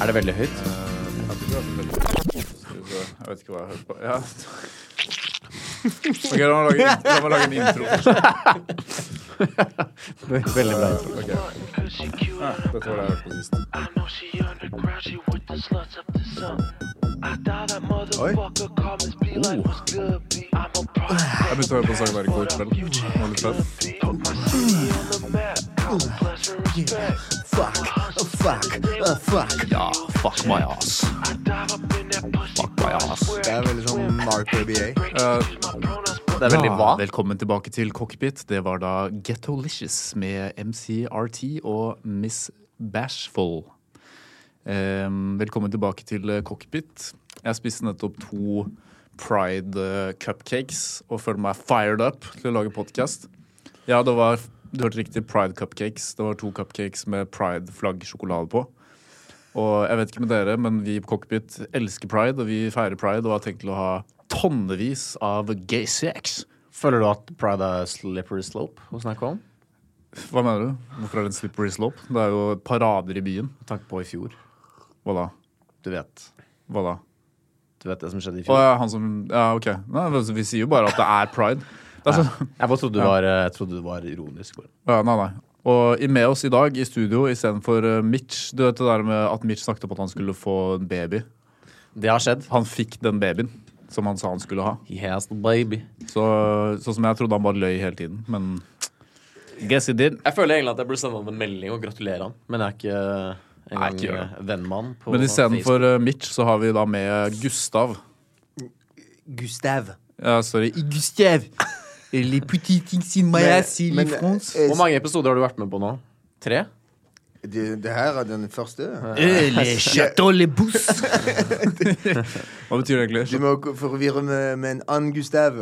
Er det veldig høyt? Jeg vet ikke hva som skjedde. Skal vi se. Jeg vet ikke hva jeg hørte på. Ja. Ok, la meg lage, la meg lage en intro. først. Veldig bra. Ok. Ja, dette var det jeg hørte på sist. Jeg begynte å høre på en sang der i går kveld. Det var litt fett. Ja, fuck my ass. Fuck my ass. Uh, Det er veldig sånn Mark ABA. Det er veldig hva? Velkommen tilbake til Cockpit. Det var da Gettolicious med MCRT og Miss Bashful. Ehm, velkommen tilbake til eh, Cockpit. Jeg spiste nettopp to Pride eh, cupcakes og føler meg fired up til å lage podkast. Ja, det var Du hørte riktig Pride cupcakes. Det var to cupcakes med Pride-flaggsjokolade på. Og jeg vet ikke med dere, men vi på Cockpit elsker pride, og vi feirer pride og har tenkt til å ha tonnevis av gay sex. Føler du at pride er slippery slope å snakke om? Hva mener du? Hvorfor er det en slippery slope? Det er jo et par rader i byen. Med tanke på i fjor. Hva da? Du vet. Hva da? Du vet det som skjedde i Å fjor? ja, han som Ja, OK. Nei, altså, vi sier jo bare at det er pride. Det er sånn, Jeg bare trodde du var, jeg trodde du var ironisk. bare. ja, nei, nei. Og i- med oss i dag i studio istedenfor uh, Mitch Du vet det der med at Mitch snakket om at han skulle få en baby. Det har skjedd. Han fikk den babyen som han sa han skulle ha. He has the baby. Så, sånn som jeg trodde han bare løy hele tiden. Men guess he did. Jeg føler egentlig at jeg burde sende han en melding og gratulere han, men jeg er ikke Nei, engang ikke gjør eh, vennmann på Men Facebook. istedenfor uh, Mitch så har vi da med Gustav. Gustav. Ja, sorry. Gustav! Les petits things in my Men- ass, men, les France. eh, Hvor mange episoder har du vært med på nå? Tre? Det, det her er den første. Eh, Hva betyr det egentlig? Eh, Du må ikke forvirre med, med en annen Gustav.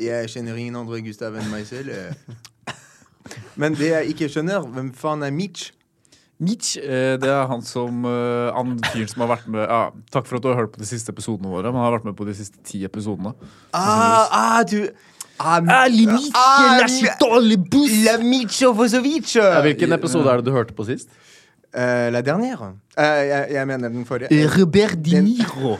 Jeg kjenner ingen andre Gustav enn meg selv. eh. Men det jeg ikke skjønner, hvem faen er Mitch? Mitch, eh, det er han som eh, Han fyren som har vært med ja, Takk for at du har hørt på de siste episodene våre. Men han har vært med på de siste ti episodene. Ah, ah, du ah, Mitch, la La Mitch og Vosovic! Hvilken episode er det du hørte på sist? Eh, la dernière. Eh, jeg, jeg mener den forrige. Robert Di Den- Niro.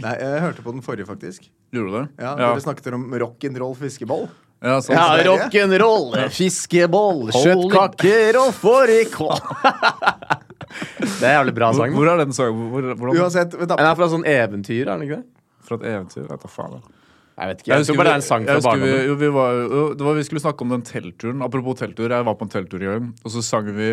Nei, jeg hørte på den forrige, faktisk. Gjorde du det? Ja, ja. Dere snakket om rock'n'roll fiskeball. ja sånn. Ja, det er det. rock'n'roll, fiskeboll, kjøttkaker og fårikål. Det er en jævlig bra Hvor, sang. da. hvor er den sangen? Hvor, hvordan? Uansett, vent Den da. er fra sånn eventyr, er den ikke det? Fra et eventyr? Jeg tar faen. jeg. Jeg vet ikke. Jeg tror bare det er en sang jeg fra husker vi, barndommen. jo, vi, var, jo, det var, vi skulle snakke om den teltturen. Apropos telttur, jeg var på en telttur i gang, og så sang vi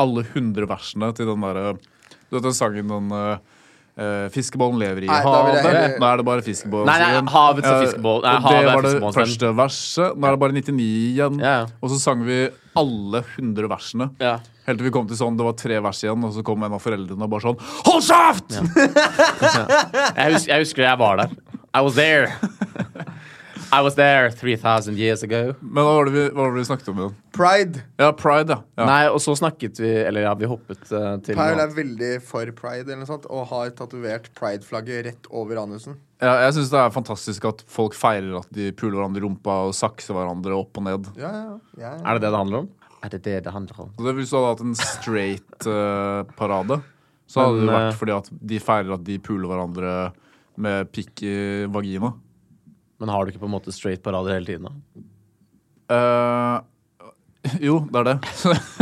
alle 100 versene til den derre Du vet den sangen den eh, eh, Fiskebollen lever i Nei, da vil havet. jeg- Nå er det bare fiskebollen Nei, nei, igjen. havets og Eh, fiskeboll- nei, og havet det er var det fiskebollens første verset. Nå er det bare 99 igjen. Ja, ja. Og så sang vi alle 100 versene. Ja. Helt til vi kom til sånn, det var tre vers igjen, og så kom en av foreldrene og bare sånn Hold kjeft! Jeg, husker, jeg husker jeg var der. I was there. I was there 3000 years ago. Men hva var det vi, hva var det vi snakket om igjen? Pride. Ja, pride, ja. ja. Nei, og så snakket vi Eller ja, vi hoppet eh, til noe Pyle annet. er veldig for pride eller noe sånt, og har tatovert pride-flagget rett over anusen. Ja, jeg syns det er fantastisk at folk feirer at de puler hverandre i rumpa og sakser hverandre opp og ned. Ja, ja, ja. ja. Er det det det handler om? Er det det det handler om? Så det, hvis du hadde hatt en straight eh, parade, så hadde Men, det vært eh, fordi at de feirer at de puler hverandre med pikk i vagina. Men har du ikke på en måte straight parader hele tiden, da? Eh, jo, det er det.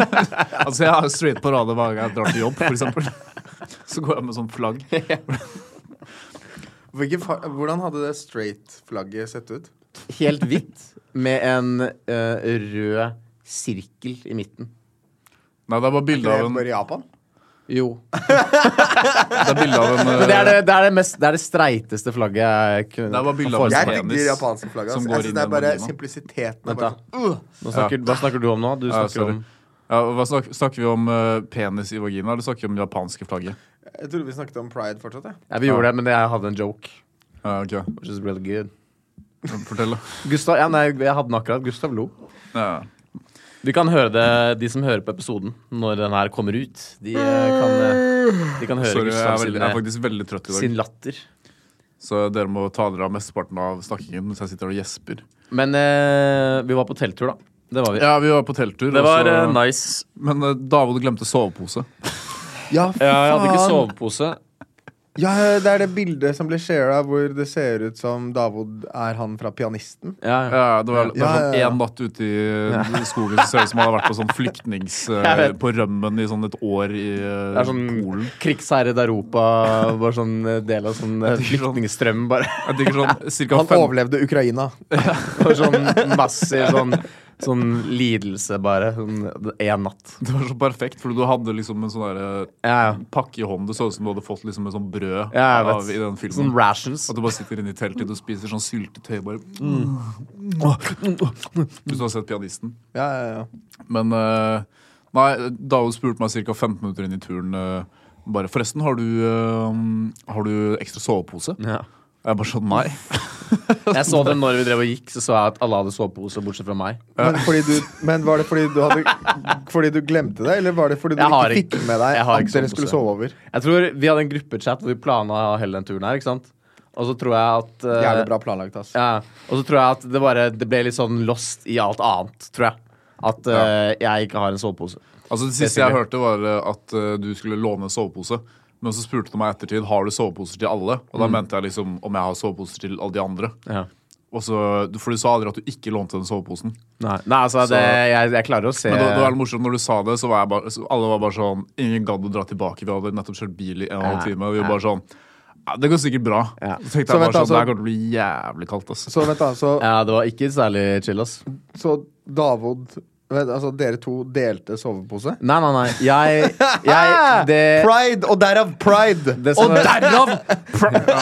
altså, jeg har straight parade hver gang jeg drar til jobb, f.eks. Så går jeg med sånn flagg. Hvilke fa hvordan hadde det straight-flagget sett ut? Helt hvitt med en eh, rød sirkel i midten. Nei, det er bare bilde Det av er en, bare Japan? Jo. det er bilde av en eh, Det er det, det, er det, mest, det er det streiteste flagget jeg kunne Det er bare bilde av forestille Jeg en meg. penis digger japanske flagg. som Altså. går Jeg synes inn det i er bare vagina. simplisiteten. er Vent, bare da. sånn, Nå snakker, Hva snakker du om nå? Du Ja, snakker sorry. om ja, hva snak, snakker vi om eh, penis i vagina, eller snakker vi om det japanske flagget? Jeg trodde vi snakket om pride fortsatt. jeg. ja, Vi gjorde det, men jeg hadde en joke. Ja, ok. Which is really good. Fortell, da. Gustav, ja, nei, jeg hadde den akkurat. Gustav lo. Ja. Vi kan høre det, de som hører på episoden, når den her kommer ut. De eh, kan, eh, de kan høre Sorry, jeg er, Gustav veldig, sin, eh, jeg er faktisk veldig trøtt i dag. sin latter. Så dere må ta dere av mesteparten av snakkingen mens jeg sitter og gjesper. Men eh, vi var på telttur, da. Det var vi. Ja, vi var eh, på telttur, det og var så- eh, nice. men eh, David glemte sovepose. Ja, fy Ja, jeg hadde ikke faen. sovepose. Ja, det er det bildet som ble shara, hvor det ser ut som Davod er han fra Pianisten. Ja, ja. Ja, det var, det var Ja, sånn ja, ja. én natt ute i eh, skogen som ser ut som han har vært på sånn flyktnings... eh, vet. På rømmen i sånn et år i eh, Det er sånn Polen. krigsherre i Europa, bare sånn eh, del av sånn eh, flyktningstrøm, bare. Jeg digger sånn cirka Han fem- overlevde Ukraina. For sånn massiv sånn, sånn lidelse, bare. Sånn én natt. Det var så perfekt, for du hadde liksom en sånn der, eh, Ja, pakke i hånden. Det så ut som du hadde fått liksom en sånn brød ja jeg av, vet. i den filmen. Sånn rations. At du bare sitter inne i teltet Mm. og spiser sånn syltetøy. Bare. Hvis du har sett Pianisten. Ja, ja, ja. Men eh, Nei, David spurte meg ca. 15 minutter inn i turen eh, bare Forresten, har du, eh, har du ekstra sovepose? Ja. Jeg bare sånn nei. Jeg så det når vi drev og gikk, så så jeg at alle hadde sovepose, bortsett fra meg. Men, fordi du, men var det fordi du, hadde, fordi du glemte det, eller var det fordi du Jeg har ikke ikke- fikk med deg jeg har at ikke dere sovepose. skulle sove over? Jeg tror Vi hadde en gruppechat hvor vi planla hele den turen her, ikke sant? Og så tror jeg at eh, Jævlig bra planlagt, ass. Ja, og så tror jeg at det bare Det ble litt sånn lost i alt annet, tror jeg. At eh, jeg ikke har en sovepose. Altså Det siste jeg hørte, var eh, at eh, du skulle låne sovepose. Men så spurte du meg i ettertid har du soveposer til alle. Og da mente jeg liksom om jeg har soveposer til alle de andre. Ja. Og så, For du sa aldri at du ikke lånte den soveposen. Nei, Nei, altså det, jeg, jeg klarer å se Men det, det var litt morsomt når du sa det, så var jeg bare, så alle var bare sånn Ingen gadd å dra tilbake. Vi hadde nettopp kjørt bil i en og en halv Ja, time. Og vi var ja. bare sånn ja, Det går sikkert bra. Ja. Så tenkte Så jeg bare vent da, sånn Det så- her kommer til å bli jævlig kaldt, ass. Så vent, da. Så, Ja, det var ikke særlig chill, ass. så Davod vent, Altså, dere to delte sovepose? Nei, nei, nei. Jeg, jeg det, Pride, og derav pride! det som og er, derav!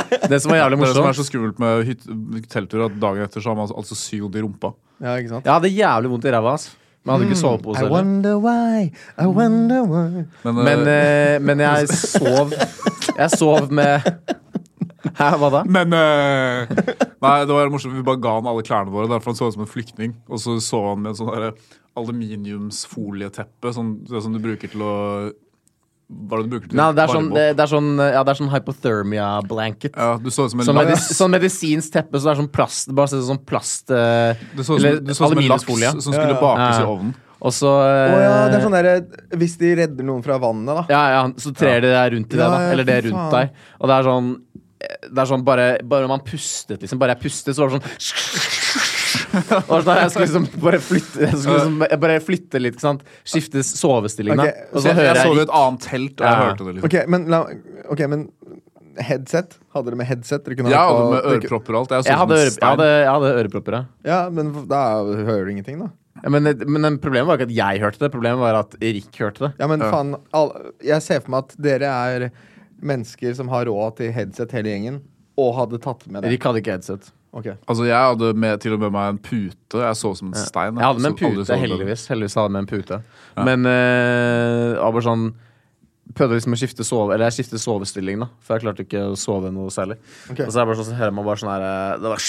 det som var jævlig Det som er morsomt så skummelt med hyt- telttur, at dagen etter så har man altså syvd i rumpa. Ja, ikke Jeg sant? hadde jævlig vondt i ræva, ass. Men jeg hadde ikke sovepose I heller. wonder why, I wonder why Men, Men, eh, eh, men jeg sov Jeg sov med Hæ, hva da? men eh, Nei, det var morsomt. Vi bare ga han alle klærne våre. Derfor han så ut som en flyktning. Og så sov han med en sånn derre aluminiumsfolieteppe, sånn, det som du bruker til å Hva er det du bruker til? Nei, det er Varme sånn, opp. det, det er sånn, ja, det er sånn hypothermia blanket. ja, du så ut som en Sånn, laks. medis, sånn medisinsk teppe, så det er sånn plast Bare ser ut som plast eh, Du så ut Eller som, du så ut som en laks aluminiumsfolie. som skulle Ja. bakes Ja. i ovnen. Og så Å eh, ja, det er sånn derre Hvis de redder noen fra vannet, da. ja, ja, så trer det deg rundt i det, Ja, da. ja, Eller det fy rundt faen. deg. Og det er sånn eh, Det er sånn bare Bare man pustet, liksom. Bare jeg pustet, så var det sånn Og sånn, jeg skulle liksom bare flytte Jeg skulle liksom jeg bare flytte litt, ikke sant. Skifte sovestilling, da. Ok, Og Så så jeg, jeg hører så det i jeg et annet telt, og jeg Ja. hørte det. liksom Ok, men, la, ok, men headset? Hadde dere med headset? Dere kunne Jeg hørt hadde på- med dere- ørepropper og alt. Jeg så Jeg ut som hadde, en øre, jeg stein. hadde, jeg hadde ørepropper, ja. Ja, men da hører du ingenting, da. ja. Men, men problemet var ikke at jeg hørte det, problemet var at Erik hørte det. Ja, men Ja. faen all, Jeg ser for meg at dere er mennesker som har råd til headset hele gjengen, og hadde tatt med det. Erik hadde ikke headset. Ok. Altså, jeg hadde med, til og med meg en pute. Jeg så ut som en stein. Jeg hadde med en Så aldri så pute, ut som- heldigvis. Heldigvis hadde jeg med en pute. Men eh, jeg var bare sånn Prøvde liksom å skifte sove Eller jeg skiftet sovestilling, da. For jeg klarte ikke å sove noe særlig. Ok. Og så er det bare sånn, så hører man bare sånn her eh, det bare,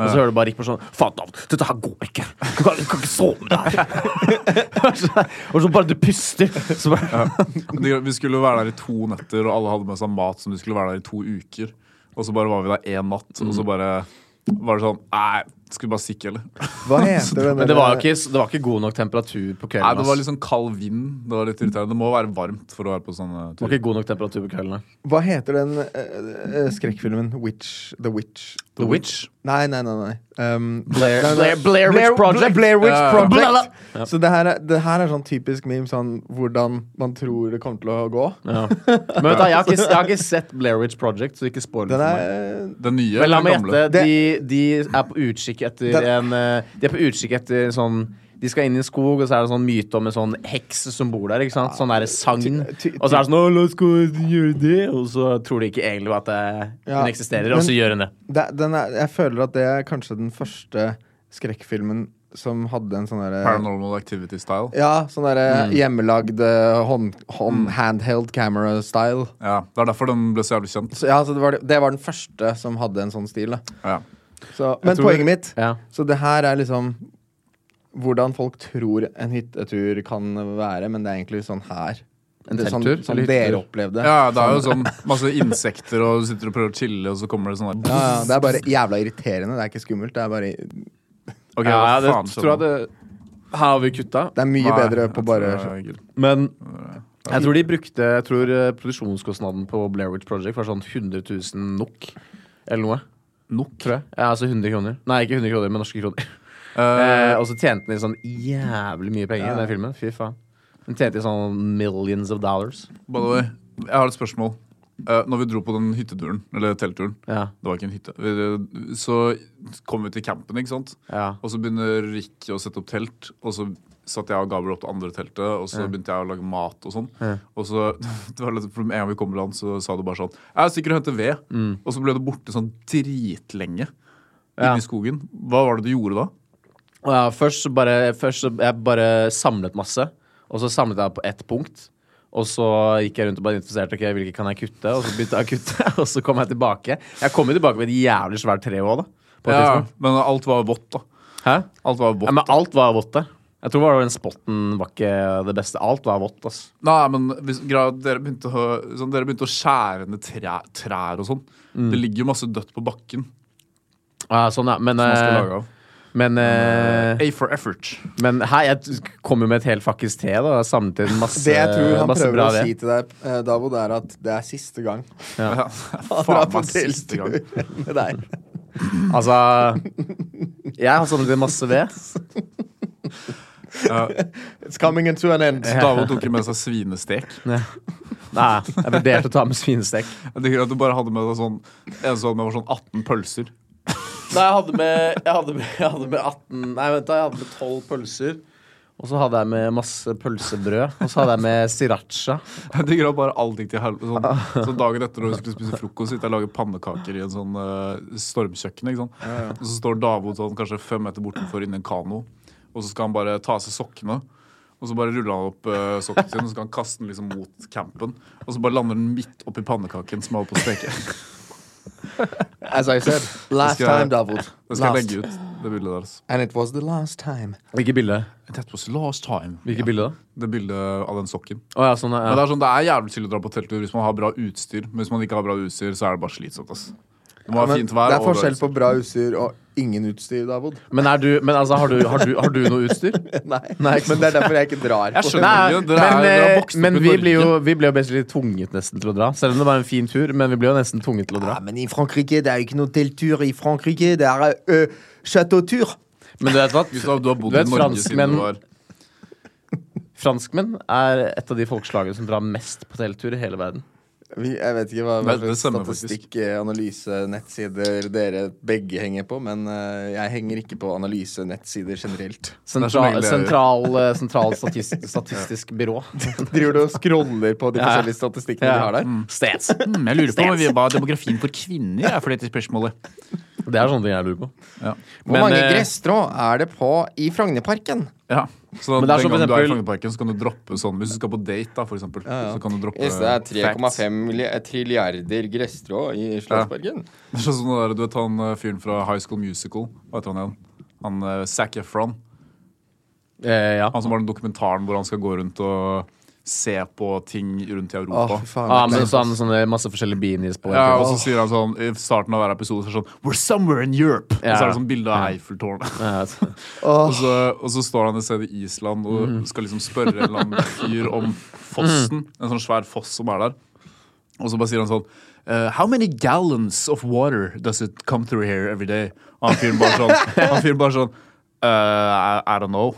Og så hører du bare Rik på sånn Faen, David, dette her går ikke! Du kan, du kan ikke sove med det her! og så bare du puster. Så bare, Men det- Vi skulle være der i to netter, og alle hadde med seg mat som de skulle være der i to uker. Og så bare var vi der én natt, og Mm. så bare var det sånn Nei, skal vi bare stikke, eller? Hva heter den Men det var, jo ikke, det var ikke god nok temperatur på kvelden. Nei, det var ass. litt sånn kald vind. Det var litt irriterende. Det må være varmt for å være på sånne Det var turer. ikke god nok temperatur på kvelden. nei. Hva heter den eh, eh, skrekkfilmen Witch The Witch? The Witch. Nei, nei, nei. nei. Um, Blair- nei, nei. Blair- Blair Witch Project. Blair Witch Ja, ja, ja. Project. Bla, bla. Så det her, er, det her er sånn typisk meme, sånn hvordan man tror det kommer til å gå. Ja. Men vet du, jeg har, ikke, jeg har ikke sett Blairwich Project, så ikke spoil det Den for er meg. Den Men nye la eller meg den gamle? gjette. De, de er på utkikk etter en Den- eh, De er på utkikk etter en sånn de skal inn i en skog, og så er det en sånn myte om en sånn heks som bor der. ikke sant? Sånn der sagn. Ty- ty- Og så er det sånn «Å, 'La oss gå og gjøre det', og så tror de ikke egentlig at det, Ja, den eksisterer, og så men- gjør hun det. det, den er, jeg føler at det er kanskje den første skrekkfilmen som hadde en sånn derre Paranormal Activity-style. Ja, sånn derre Mm. hjemmelagd eh, hånd, hånd, handheld camera style. Ja, Det er derfor den ble så jævlig kjent. Så, ja, så det, var, det var den første som hadde en sånn stil. Da. Ja. Så, men tror- poenget mitt Ja. Så det her er liksom hvordan folk tror en hyttetur kan være, men det er egentlig sånn her. En det, er sånn, telttur, sånn eller dere hyttetur? opplevde. Ja, det er jo sånn masse insekter, og du sitter og prøver å chille, og så kommer det sånn der Ja, ja, det er bare jævla irriterende. Det er ikke skummelt. Det er, bare, Ok, ja, hva det faen skjer tror jeg nå? det Her har vi kutta. det er mye Nei, bedre jeg på tror bare det er gull. Men Jeg tror de brukte Jeg tror eh, produksjonskostnaden på Blair Witch Project var sånn 100 000 nok. Eller noe. Nok. Tror jeg. Ja, altså 100 kroner. Nei, ikke 100 kroner, men norske kroner. Eh, og så tjente de sånn jævlig mye penger i den filmen. Fy faen. Den tjente sånn millions of dollars. By the way, jeg har et spørsmål. Eh, når vi dro på den hytteturen, eller teltturen Ja, Det var ikke en hytte. Vi- Så kom vi til campen, ikke sant? ja. Og så begynner Ricky å sette opp telt, og så satt jeg og Gabriel opp til andre teltet, og så begynte jeg å lage mat og sånn. Og så, det var litt, for En gang vi kom til land, så sa du bare sånn 'Jeg er sikker og henter ved.' Og så ble du borte sånn dritlenge Mm. Ja. inni skogen. Hva var det du gjorde da? Og ja, først så bare, først så jeg bare samlet masse, og så samlet jeg på ett punkt. Og så gikk jeg rundt og bare identifiserte ok, hvilke kan jeg kutte, og så begynte jeg å kutte. Og så kom jeg tilbake. Jeg kom jo tilbake med et jævlig svært tre òg, da. På et Ja, tidspunkt. men alt var vått, da. Hæ? Alt var Ja, vått. men alt var vått der. Jeg tror bare den spotten var ikke det beste. Alt var vått, ass. Nei, men hvis, gra- dere, begynte å, sånn, dere begynte å skjære ned trær, trær og sånn. Det ligger jo masse dødt på bakken. Ja, sånn, ja. Men, Som man skal eh, lage av. men, eh, A for effort. men her, jeg kom jo med et helt fuckings te, da. Jeg Samlet inn masse, Det jeg tror han masse prøver bra å ved. si til deg, eh, Davo, det er at det er siste gang Ja. han Faen drar på meg siste telttur gang. med deg. Altså Jeg har samlet inn masse ved. Ja. It's coming into an end. Davo tok jo med seg svinestek. Nei, jeg vurderte å ta med svinestek. Jeg tenker at du bare hadde med deg sånn Eneste du hadde med, var sånn 18 pølser. Nei, jeg hadde med, jeg hadde med, jeg hadde med 18 Nei, vent da, jeg hadde med 12 pølser. Og så hadde jeg med masse pølsebrød. Og så hadde jeg med sriracha. Jeg tenker at bare alt gikk til helvete. Ah. Sånn, så dagen etter når vi skulle spise frokost, sitter jeg og lager pannekaker i en sånn eh, stormkjøkken. Ikke sant? Og så står Davo sånn kanskje fem meter bortenfor inni en kano, og så skal han bare ta av seg sokkene. Og så bare ruller han opp uh, sokken sin og så skal han kaste den liksom mot campen. Og så bare lander den midt oppi pannekaken som er oppe å steke. As I said, last Det skal jeg- time, Davod. Det skal jeg Last. legge ut. Det bildet der. Altså. And it was the last time. Hvilket bilde? That was last time. Hvilket bilde da? Det bildet av den sokken. Å ja, sånn, Men ja. det er, sånn, det er jævlig chill å dra på telttur hvis man har bra utstyr. Men hvis man ikke har bra utstyr, så er det bare slitsomt. Ass. Det må Men være fint vær. det er og bra forskjell utstyr. på bra utstyr og ingen utstyr, Davod. Men, er du, men altså, har, du, har, du, har du noe utstyr? Nei. Nei, ikke sant. Men det er derfor jeg ikke drar. Jeg på skjønner jo, dere er- men, dere har eh, vokst opp men i vi Norge. ble jo vi ble jo basically tvunget nesten til å dra. Selv om det var en fin tur, men vi ble jo nesten tvunget til å dra. Ja, men i Frankrike, det er jo ikke noe telttur i Frankrike. Det er ø, chateautur. Men du vet hva? Gustav, du har bodd Du vet, i Norge franskmenn- siden du var Franskmenn er et av de folkeslagene som drar mest på telttur i hele verden. Vi, jeg vet ikke hva Nei, hva det slags stemmer statistikk, eh, analyse, nettsider dere begge henger på, men eh, jeg henger ikke på analyse, nettsider generelt. Sentra, Det er som egentlig- sentral eh, sentral statistisk, statistisk byrå. Driver du og scroller på de Ja. forskjellige statistikkene de har der? Stets. mm, Jeg lurer på om vi- hva demografien for kvinner er for dette spørsmålet. Det er sånne ting jeg lurer på. Ja. Hvor Men, mange eh, gresstrå er det på i Frognerparken? Ja. Så Men den det er gangen som for du er i eksempel- Frognerparken, så kan du droppe sånn Hvis du skal på date, da, for eksempel, ja. så kan du droppe Yes, det er facts. 3,5 milli- trilliarder gresstrå i Slottsparken. Det er sånn som det der, Du vet han eh, fyren fra High School Musical? Hva heter han igjen? Han eh, Zac Efron. Eh, ja. Han som har den dokumentaren hvor han skal gå rundt og se på ting rundt i Å, Europa. fy faen. Ah, men sånn, sånne masse forskjellige beanies på. Ja, og så sier han sånn i starten av hver episode så er det sånn We're somewhere in Europe! Og så er det sånn bilde av Eiffeltårnet. Ja, så- Og, så, og så står han et sted i Island og Mm. skal liksom spørre en eller annen fyr om fossen. En sånn svær foss som er der. Og så bare sier han sånn «Eh, How many gallons of water does it come through here every day? Og han fyren bare sånn, han fyren bare sånn «Eh, I, I don't know.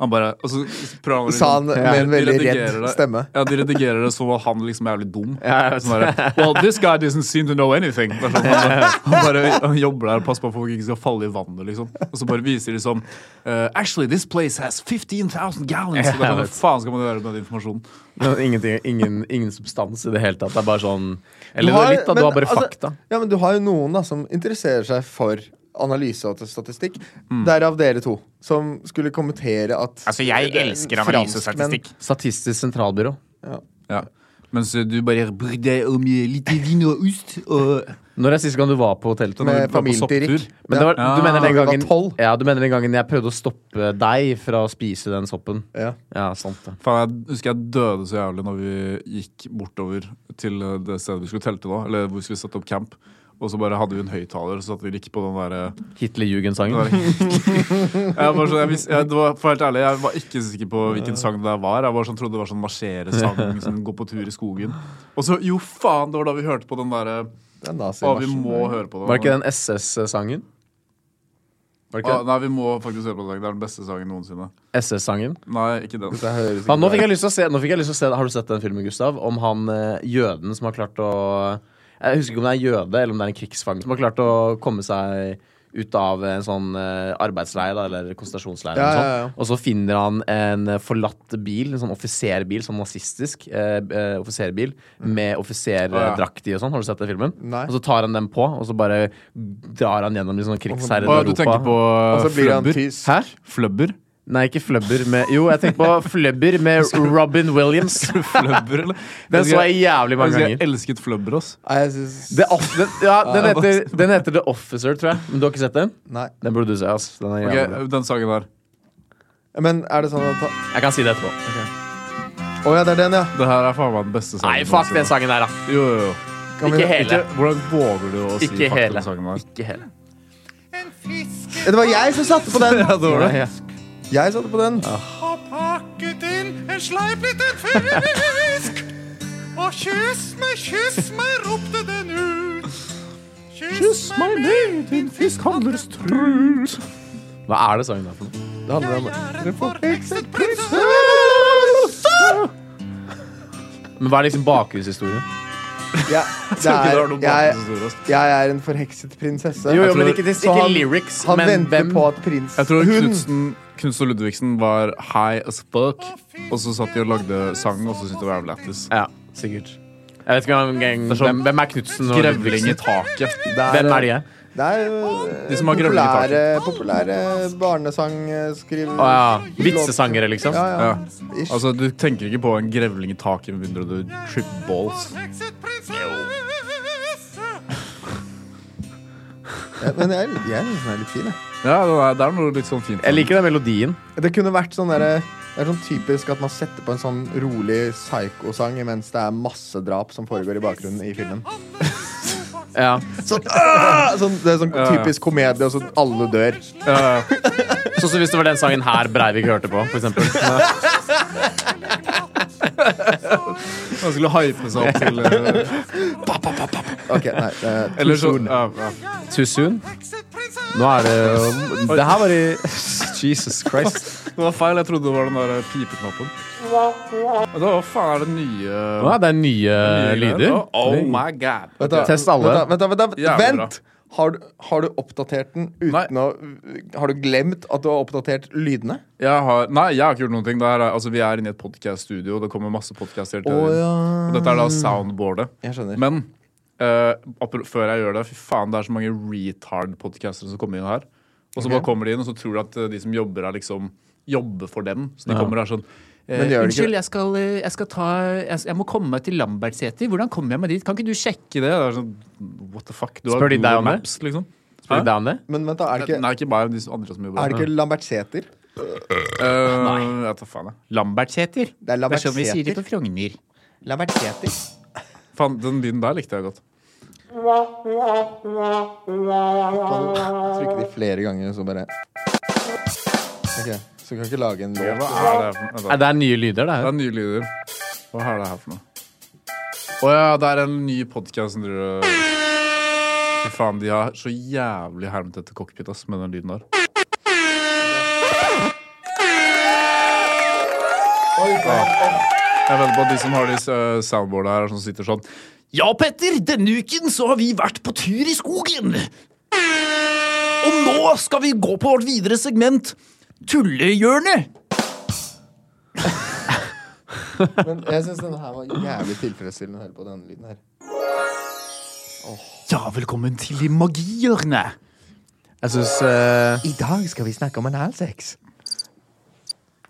Han bare, og så prøver han å Sa han liksom- med en de veldig redigerer redd det- stemme. Ja, de redigerer det som at han liksom er jævlig dum. Ja, jeg vet Sånn der, well, this guy doesn't seem to know anything. Det er Sånn, han, bare, han bare han jobber der og passer på at folk ikke skal falle i vannet, liksom. Og så bare viser de sånn «Eh, Actually, this place has 15,000 gallons. Og det er sånn, Hva faen skal man gjøre med den informasjonen? Men Ingenting, ingen, ingen substans i det hele tatt. Det er bare sånn Eller Du har- det er litt, da. Du men, har bare altså, fakta. Ja, men du har jo noen da som interesserer seg for analyse og statistikk. Mm. Derav dere to, som skulle kommentere at eh, Altså, jeg elsker franskmenn- analysestatistikk. Statistisk sentralbyrå. Ja. Mens du bare bryr deg om litt vin og ost og Når er sist gang du var på telttur? Med var på familien til Rick. sopptur. Men det var, Ja. du, mener den Da vi var gangen, tolv. ja, du mener den gangen jeg prøvde å stoppe deg fra å spise den soppen? Ja. Ja, sant det. Faen, jeg husker jeg døde så jævlig når vi gikk bortover til eh, det stedet vi skulle telte da, eller hvor vi skulle sette opp camp. Og så bare hadde vi en høyttaler, og så satt vi ikke på den eh, derre Hitlerjugend-sangen. jeg var sånn, jeg vis, jeg, det var, for helt ærlig, jeg var ikke sikker på hvilken sang det der var. Jeg var sånn, trodde det var sånn marsjeresang som går på tur i skogen. Og så, jo faen, det var da vi hørte på den derre Det er nazi Å, vi må høre på den. Var det ikke den SS-sangen? Var det Å, ikke nei, vi må faktisk høre på den. Det er den beste sangen noensinne. SS-sangen? Nei, ikke den. Det høres Ja, nå ikke fikk jeg lyst til å se, nå fikk jeg lyst til å se Har du sett den filmen, Gustav? Om han eh, jøden som har klart å Jeg husker ikke om det er jøde eller om det er en krigsfange som har klart å komme seg ut av en sånn eh, arbeidsleir da, eller konsentrasjonsleir. Ja, eller noe ja, ja. sånt. Og så finner han en eh, forlatt bil, en sånn offiserbil, sånn nazistisk eh, eh, offiserbil, med offiserdrakt i og sånn. Har du sett den filmen? Mm. Nei. Og så tar han den på, og så bare drar han gjennom liksom, krigsherrede Å, du tenker på eh, Og så blir han Flubber? tysk. Hæ? Flubber? Nei, ikke Flubber med Jo, jeg tenker på Flubber med Robin Williams. Flubber, eller? Den så jeg jævlig mange Jeg ganger. elsket Flubber, ass. Nei, jeg syns The Off- den, ja, den, heter, den heter The Officer, tror jeg. Men du har ikke sett den? Nei. Den burde du se. ass den er Ok, jævlig bra. den sangen der. Men er det sånn at han- Jeg kan si det etterpå. Å ja, det er den, ja. Det her er faen meg den beste sangen. Nei, fuck den noensinne. sangen der, da. Jo, jo, jo. Kan Ikke vi, hele. Ikke, hvordan våger du å si Ikke fuck hele. den sangen der? Ikke hele. det var jeg som satte på den! Ja, det var det. Ja, ja. Jeg satte på den. pakket inn en sleip liten fisk. Og kyss meg, kyss meg, ropte den ut. Kyss, meg med din Fiskhandlerstrut. Hva er det sangen der for noe? Det handler om Jeg er en forhekset prinsesse. Men hva er liksom bakgrunnshistorien? ja, det er, jeg, Jeg, jeg er en forhekset prinsesse. Jo, jo, Jeg men tror- ikke, Så ikke han- lyrics, Han men venter hvem på at prins jeg tror Hun! Knutsen, Knutsen og Ludvigsen var high as fuck, og så satt de og lagde sang, og så syntes de det var jævlig lættis. Ja, sikkert. Jeg vet ikke hvem, hvem, er sånn- hvem, hvem er Knutsen og Grevling i taket. Det Hvem er de? her? Det er øh, De som har grønne populære, populære barnesangskriver... Å ja. Vitsesangere, liksom? Ja, ja. Ja. Ish. Altså, du tenker ikke på en grevling i taket med mindre du trip balls. Forhekset prinsesse. Ja, Men jeg, jeg synes den er litt fin, jeg. Ja, det er, det er noe litt sånn fint. Jeg liker den melodien. Det kunne vært sånn derre det er sånn typisk at man setter på en sånn rolig psykosang mens det er masse drap som foregår i bakgrunnen i filmen. Ja. Sånn, «Åh!» sånn, det er sånn typisk komedie, og så alle dør. Ja, ja. Sånn som hvis det var den sangen her Breivik hørte på, for eksempel. Man skulle hype seg opp til eh, Ok, nei. eh, Det er Eller sånn. Ja, ja. Too soon. Nå er det jo Det her var i Jesus Christ. Det var feil. Jeg trodde det var den der eh, pipeknappen. Men Det var faen er det nye eh, Nå er det nye lyder. Oh my god. Vent da, Test alle. Vent, da, vent, da, vent, da, Jævlig bra. vent. Har, du, har du oppdatert den uten Nei. å Har du glemt at du har oppdatert lydene? Jeg har, nei, jeg har ikke gjort noen ting. Det her er, altså, vi er inne i et podcast-studio. Det kommer masse podcaster hele tiden. Og Dette er da soundboardet. Mm. Jeg skjønner. Men eh, apro- før jeg gjør det, fy faen, det er så mange retard-podcastere som kommer inn her. Og så bare kommer de inn, og så tror de at eh, de som jobber her, liksom jobber for dem. Så de kommer her sånn eh, Men det gjør de ikke. jeg, skal, eh, jeg skal ta jeg, jeg må komme meg til Lambertseter. Hvordan kommer jeg meg dit? Kan ikke du sjekke det? det er sånn, What the fuck? Du har Spør de Google deg om det? Maps, liksom. Spør du deg om det? Men vent, da. Er det ikke, Nei, ikke bare de som- andre som jobber er her. det ikke Lambertseter? Eh, jeg tar faen, jeg. Lambertseter. Det er Lambertseter. på Frogner. Lambertseter. Faen, den lyden der likte jeg godt. Trykker de flere ganger, så bare Ok, Så du kan ikke lage en Hva låt? er det her for noe? Nei, det er nye lyder, det Det her. er nye lyder. Hva er det her for noe? Å ja, det er en ny podkast som driver og Fy faen, de har så jævlig hermet etter cockpit ass, med den lyden der. Jeg venter på at de som har de eh, soundboardene her, som sitter sånn Ja, Petter, denne uken så har vi vært på tur i skogen. Og nå skal vi gå på vårt videre segment, Tullehjørnet. Men jeg syns denne her var jævlig tilfredsstillende å høre på denne lyden her. Ja, velkommen til Magihjørnet. Jeg syns øh, eh, I dag skal vi snakke om analsex.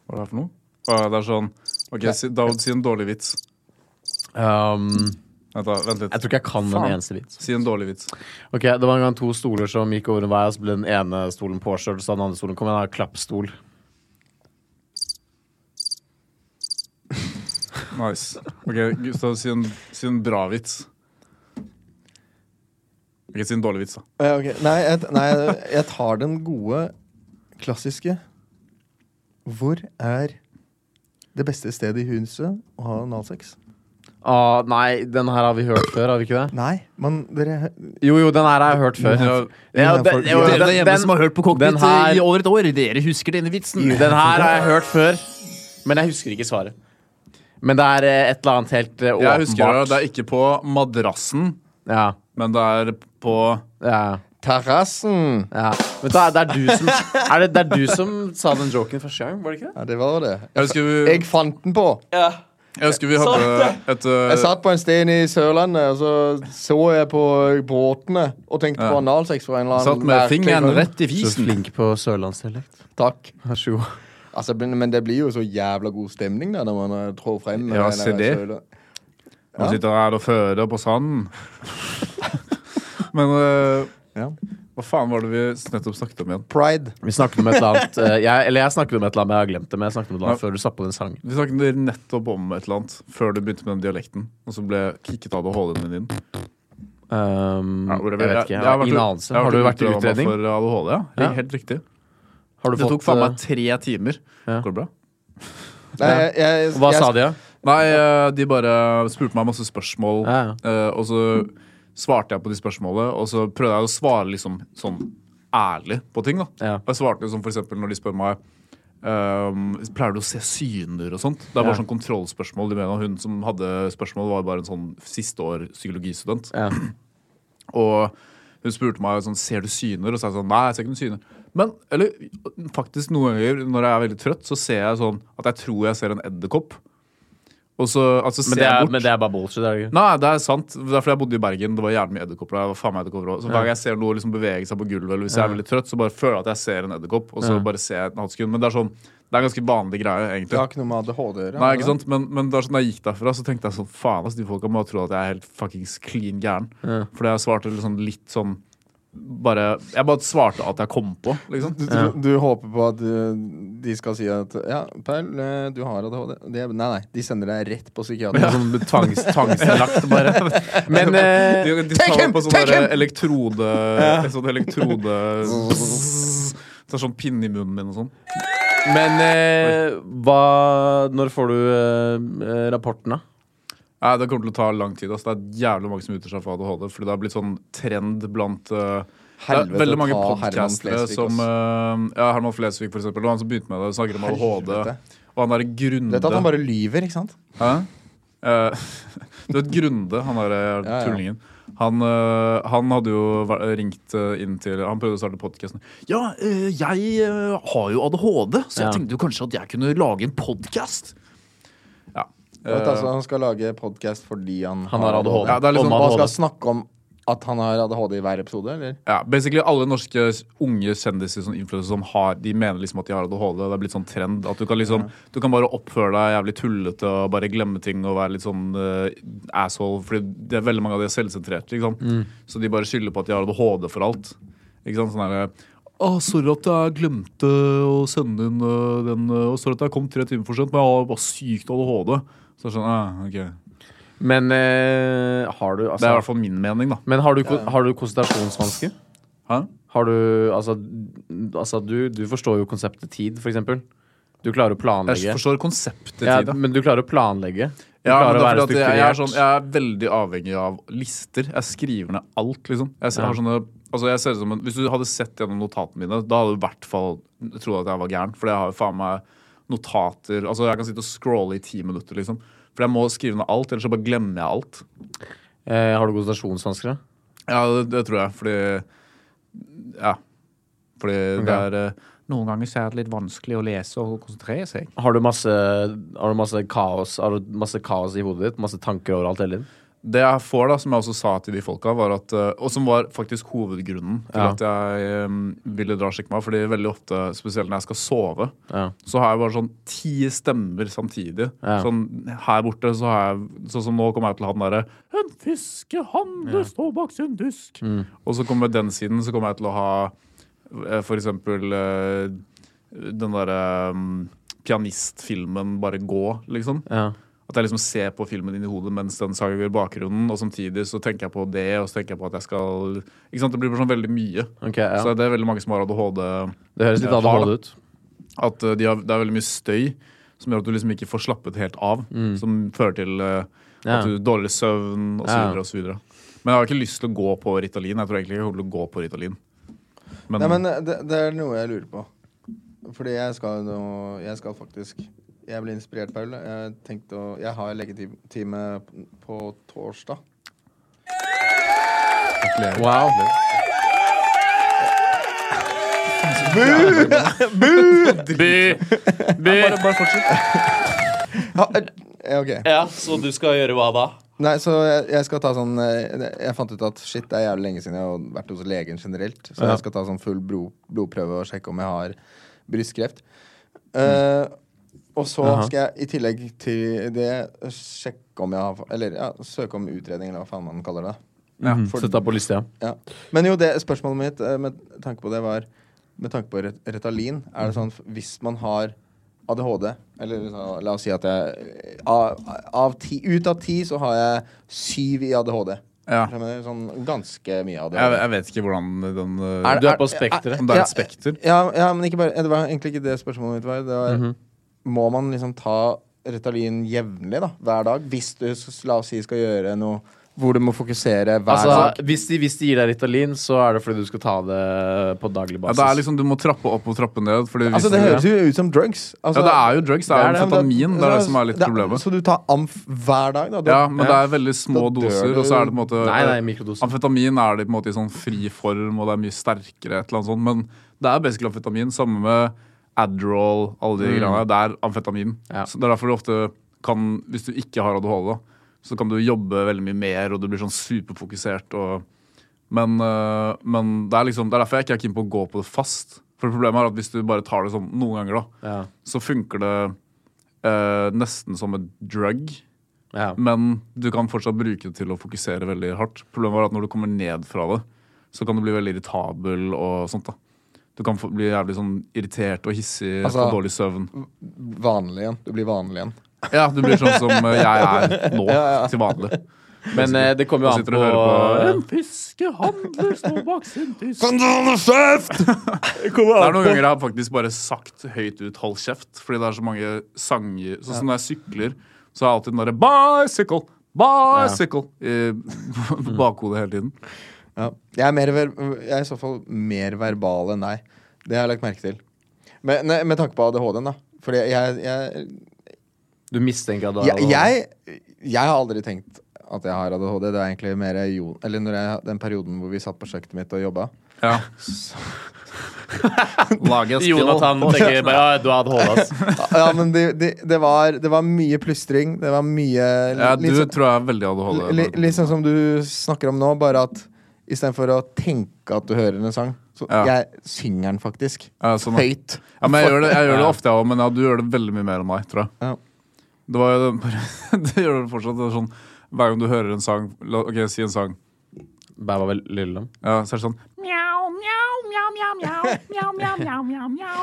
Hva er det her for noe? Å, ja, det er sånn OK, si, David, si en dårlig vits. um, Vent, da, vent Jeg litt. tror ikke jeg kan Faen. en eneste vits. Si en dårlig vits. Ok, Det var en gang to stoler som gikk over en vei, og så ble den ene stolen påkjørt, og så den andre stolen kom igjen, da, klappstol. Nice. Ok, Gustav, si en, si en bra vits. Ikke si en dårlig vits, da. Ja, ok. Nei, jeg, nei, jeg tar den gode, klassiske. Hvor er det beste stedet i huset å ha analsex? Ah, nei, den her har vi hørt før, har vi ikke det? Nei, men dere Jo, jo, den her har jeg hørt før. Den her- Ja, den her den- folk- jo, Dere den- Dere hjemme den- som har hørt på den Cockpit her- i over et år, dere husker denne vitsen. Den her har jeg hørt før, men jeg husker ikke svaret. Men det er eh, et eller annet helt eh, Jeg husker det, åpenbart. det er ikke på madrassen, Ja, men det er på ja, Terrassen! ja. Men det er, det, er du som, er det, det er du som sa den joken første gang, var det ikke det? Ja, det var det. Jeg husker vi, Jeg fant den på! jeg husker vi hadde et Jeg uh, satt på en sten i Sørlandet, og så så jeg på båtene og tenkte på Ja. analsex fra en eller annen Satt med merkelig fingeren grunn. rett i fisen. flink på sørlandsdialekt. Takk. Vær så god. Altså, men, men det blir jo så jævla god stemning da, når man eh, trår frem. med Ja, den se der det. søla. Man sitter her og føder på sanden. Men uh, Ja. hva faen var det vi nettopp snakket om igjen? Pride. Vi snakket om et eller annet eh, jeg, Eller jeg snakket om et eller annet, men jeg har glemt det. Men jeg snakket om et eller annet Ja. før du satt på den sangen. Vi snakket nettopp om et eller annet før du begynte med den dialekten. Og så ble jeg kicket av ADHD-en din. Um, Ja, jeg hvor det- vet ikke. jeg Jeg har har vært- ingen anelse. jeg Har du vært i utredet meg utredning? For ADHD, ja. Ja. Helt riktig. Har du Det tok faen meg fått eh, tre timer. Ja. Går det bra? Nei, jeg, jeg, eh, Hva jeg, sa de, da? Nei, eh, de bare spurte meg masse spørsmål, Ja, ja. eh, og så svarte jeg på de spørsmålene, og så prøvde jeg å svare liksom sånn ærlig på ting, da. Ja. Jeg svarte som for eksempel når de spør meg ehm, Pleier du å se syner og sånt? Det er bare Ja. sånn kontrollspørsmål. De mener hun som hadde spørsmål, var bare en sånn siste år psykologistudent. Ja. Og hun spurte meg sånn, ser du syner, og så sa jeg sånn, nei, jeg ser ikke noen syner. Men, eller faktisk noen ganger når jeg er veldig trøtt, så ser jeg sånn at jeg tror jeg ser en edderkopp. Og så altså, Men ser det, jeg er, bort. men det er bare bullshit. Er det ikke? Nei, det er sant. Det er fordi jeg bodde i Bergen. Det var jævlig mye edderkopper der. det var faen meg edderkopper også. Så hver gang jeg ser noe liksom bevege seg på gulvet, eller hvis jeg er veldig trøtt, så bare føler jeg at jeg ser en edderkopp, og så bare ser jeg et halvt sekund. Men det er sånn, det er en ganske vanlig greie, egentlig. jeg har ikke noe med ADHD å gjøre. Nei, ikke sant? Men, men da sånn, jeg gikk derfra, så tenkte jeg sånn Faen, ass, de folka må tro at jeg er helt fuckings clean gæren. Fordi jeg svarte liksom litt sånn bare, Jeg bare svarte at jeg kom på, liksom. Du, du, du håper på at eh, de skal si at Ja, Paul, eh, du har ADHD. Det, nei, nei, de sender deg rett på psykiateren. Sånn tvangs, tvangsinnlagt, bare. Men eh, De, de Take tar him, på sånn take der him! elektrode en Sånn elektrode Tar sånn pinne i munnen min og sånn. Men eh, hva Når får du eh, rapporten, da? Nei, Det kommer til å ta lang tid. ass. Det er jævlig mange som utgir seg for ADHD. Fordi det har blitt sånn trend blant eh, det Helvete, er veldig mange ta Herman podcastere Flesvig, som ass. eh, Ja, Herman Flesvig, for eksempel. Og han som begynte med det, snakker om ADHD. Helvete. Og han derre Grunde Du vet at han bare lyver, ikke sant? Hæ? Eh, du vet Grunde, han derre Ja, ja. tullingen. Han, eh, han hadde jo væ- ringt eh, inn til Han prøvde å starte podkasten. Ja, eh, jeg eh, har jo ADHD, så Ja. jeg tenkte jo kanskje at jeg kunne lage en podkast. Ja. Du vet, altså, han skal lage podkast fordi han, Han har ADHD. Ja, det er Om litt sånn- Og han ADHD. liksom, skal snakke om at han har ADHD i hver episode, eller? ja, basically alle norske s- unge kjendiser som influencer som har De mener liksom at de har ADHD. Det er blitt sånn trend. At du kan liksom Du kan bare oppføre deg jævlig tullete og bare glemme ting og være litt sånn eh, asshole. Fordi det er veldig mange av de er selvsentrerte. Ikke sant? Så de bare skylder på at de har ADHD for alt. Ikke sant? Sånn derre Å, sorry at jeg glemte å sende inn eh, den eh, Og sorry at jeg kom tre timer for sent, men jeg har bare sykt ADHD. Så jeg skjønner, eh, ok Men eh, har du Det er i hvert altså, fall min mening, da. Men har du, ko- har du konsentrasjonsvansker? Hæ? Har du Altså, altså du, du forstår jo konseptet tid, for eksempel. Du klarer å Jeg planlegge. forstår konseptet Ja, til det. men du klarer å planlegge. Du Ja, men klarer det å er være fordi at jeg, jeg, er strukturert. sånn, jeg er veldig avhengig av lister. Jeg skriver ned alt, liksom. Jeg ser, Ja. har sånne, altså jeg ser ut som en, hvis du hadde sett gjennom notatene mine, da hadde du i hvert fall trodd at jeg var gæren. For jeg har jo faen meg notater Altså Jeg kan sitte og scrolle i ti minutter, liksom. For jeg må skrive ned alt, ellers så bare glemmer jeg alt. eh, har du konsentrasjonsvansker? da? Ja, det, det tror jeg, fordi Ja. Fordi det er eh, Noen ganger så er det litt vanskelig å lese og konsentrere seg. Har du masse, har du masse kaos Har du masse kaos i hodet ditt? Masse tanker overalt hele tiden? Det jeg får, da, som jeg også sa til de folka, var at, eh, og som var faktisk hovedgrunnen til Ja. at jeg em, ville dra og sjekke meg, fordi veldig ofte, spesielt når jeg skal sove, Ja. så har jeg bare sånn ti stemmer samtidig. Ja. Sånn her borte, så har jeg Sånn som nå kommer jeg til han derre En fiskehandler står bak sin dusk. Mm. Og så kommer den siden, så kommer jeg til å ha eh, for eksempel eh, den derre em, pianistfilmen Bare gå, liksom. Ja. At jeg liksom ser på filmen inn i hodet mens den sager bakgrunnen, og samtidig så tenker jeg på det, og så tenker jeg på at jeg skal Ikke sant, Det blir bare sånn veldig mye. Ok, ja. Så det er veldig mange som har ADHD. Det høres litt Ja, eh, har ADHD ut. At eh, de har, det er veldig mye støy som gjør at du liksom ikke får slappet helt av. Som fører til eh, Mm. Ja. at du dårlig søvn, og så Ja. videre og så videre. Men jeg har ikke lyst til å gå på Ritalin. Jeg tror egentlig ikke jeg kommer til å gå på Ritalin. Men, Nei, men eh, det, det er noe jeg lurer på. Fordi jeg skal nå Jeg skal faktisk Jeg ble inspirert, Paul. Jeg tenkte å Jeg har legetime på torsdag. Wow. bare, bare fortsett. Ha, eh, ja, ok. Ja, Så du skal gjøre hva da? Nei, så jeg, jeg skal ta sånn eh, Jeg fant ut at shit, det er jævlig lenge siden jeg har vært hos legen generelt. Så jeg skal ta sånn full bro, blodprøve og sjekke om jeg har brystkreft. Eh, og så skal jeg i tillegg til det sjekke om jeg har Eller ja, søke om utredning, eller hva faen man kaller det. Ja, Mm, For- Sett deg på lista. ja. Ja. Men jo, det spørsmålet mitt eh, med tanke på det var Med tanke på ret- Retalin, er det sånn f- hvis man har ADHD Eller så, la oss si at jeg eh, av, av ti, Ut av ti så har jeg syv i ADHD. Ja. Jeg mener, sånn ganske mye ADHD. Jeg, jeg vet ikke hvordan den eh, Du er på spekteret. Om det er Ah, Ja. et spekter. Mhm. Ja, ja, men ikke bare, det var egentlig ikke det spørsmålet mitt var. Det var Må man liksom ta Retalin jevnlig, da? Hver dag? Hvis du, s- la oss si, skal gjøre noe hvor du må fokusere hver sak. Altså, hvis de, hvis de gir deg Ritalin, så er det fordi du skal ta det på daglig Ja, basis. det er liksom Du må trappe opp og trappe ned. Fordi hvis Altså, det høres jo ut som drugs. Altså, ja, det er jo drugs. Det Det er er jo det, amfetamin. Det er det som er litt det problemet. Så du tar amf hver dag, da? Du, Ja, men det er veldig små Da dør doser, du. og så er det på en måte Nei, nei, mikrodoser. Amfetamin er det på en måte i sånn fri form, og det er mye sterkere, et eller annet sånt. Men det er basically amfetamin. Samme med Adderall, alle Mm. de greiene. Det er amfetamin. Ja. Så det er derfor du ofte kan, hvis du ikke har ADHD, da, så kan du jobbe veldig mye mer, og du blir sånn superfokusert og Men, øh, men det, er liksom, det er derfor jeg ikke er keen på å gå på det fast. For problemet er at hvis du bare tar det sånn noen ganger, da, Ja. så funker det øh, nesten som et drug. Ja. Men du kan fortsatt bruke det til å fokusere veldig hardt. Problemet var at når du kommer ned fra det, så kan du bli veldig irritabel og sånt. da. Du kan få- bli jævlig sånn irritert og hissig, Altså- få dårlig søvn. vanlig igjen. Du blir vanlig igjen. Ja, du blir sånn som eh, jeg er nå, til vanlig. Men eh, det kommer jo Og an sitter på, og hører på En fiskehandler står bak sin disk. Det er noen ganger jeg har faktisk bare sagt høyt ut 'hold kjeft', fordi det er så mange sanger. Sånn som når jeg sykler, så har jeg alltid den derre 'bicycle', 'bicycle' i bakhodet hele tiden. Ja. Jeg, er mer ver jeg er i så fall mer verbal enn deg. Det har jeg lagt merke til. Men, nei, med tanke på ADHD-en, da. Fordi jeg jeg, Du mistenker at du jeg, jeg jeg har aldri tenkt at jeg har ADHD. Det er egentlig mer jo, Eller når jeg, den perioden hvor vi satt på kjøkkenet mitt og jobba. Ja. Lage en spill. Jonathan tenker bare ja, du har ADHD, ass. Ja, men de, de, det, var, det var mye plystring. Det var mye Ja, du litt sånn- tror jeg er veldig ADHD. Li- Litt sånn som du snakker om nå, bare at istedenfor å tenke at du hører en sang, så Ja. jeg synger den faktisk. Ja, sånn, ja. Høyt. Ja, men jeg gjør det, jeg gjør det ofte, jeg òg, men ja, du gjør det veldig mye mer enn meg, tror jeg. Ja. Det, var, jo den- det gjør det fortsatt. Det er sånn, hver gang du hører en sang la, OK, si en sang. Bæ var vel lille. Ja, så er det sånn Mjau, mjau, mjau, mjau, mjau. Mjau, mjau, mjau, mjau, mjau.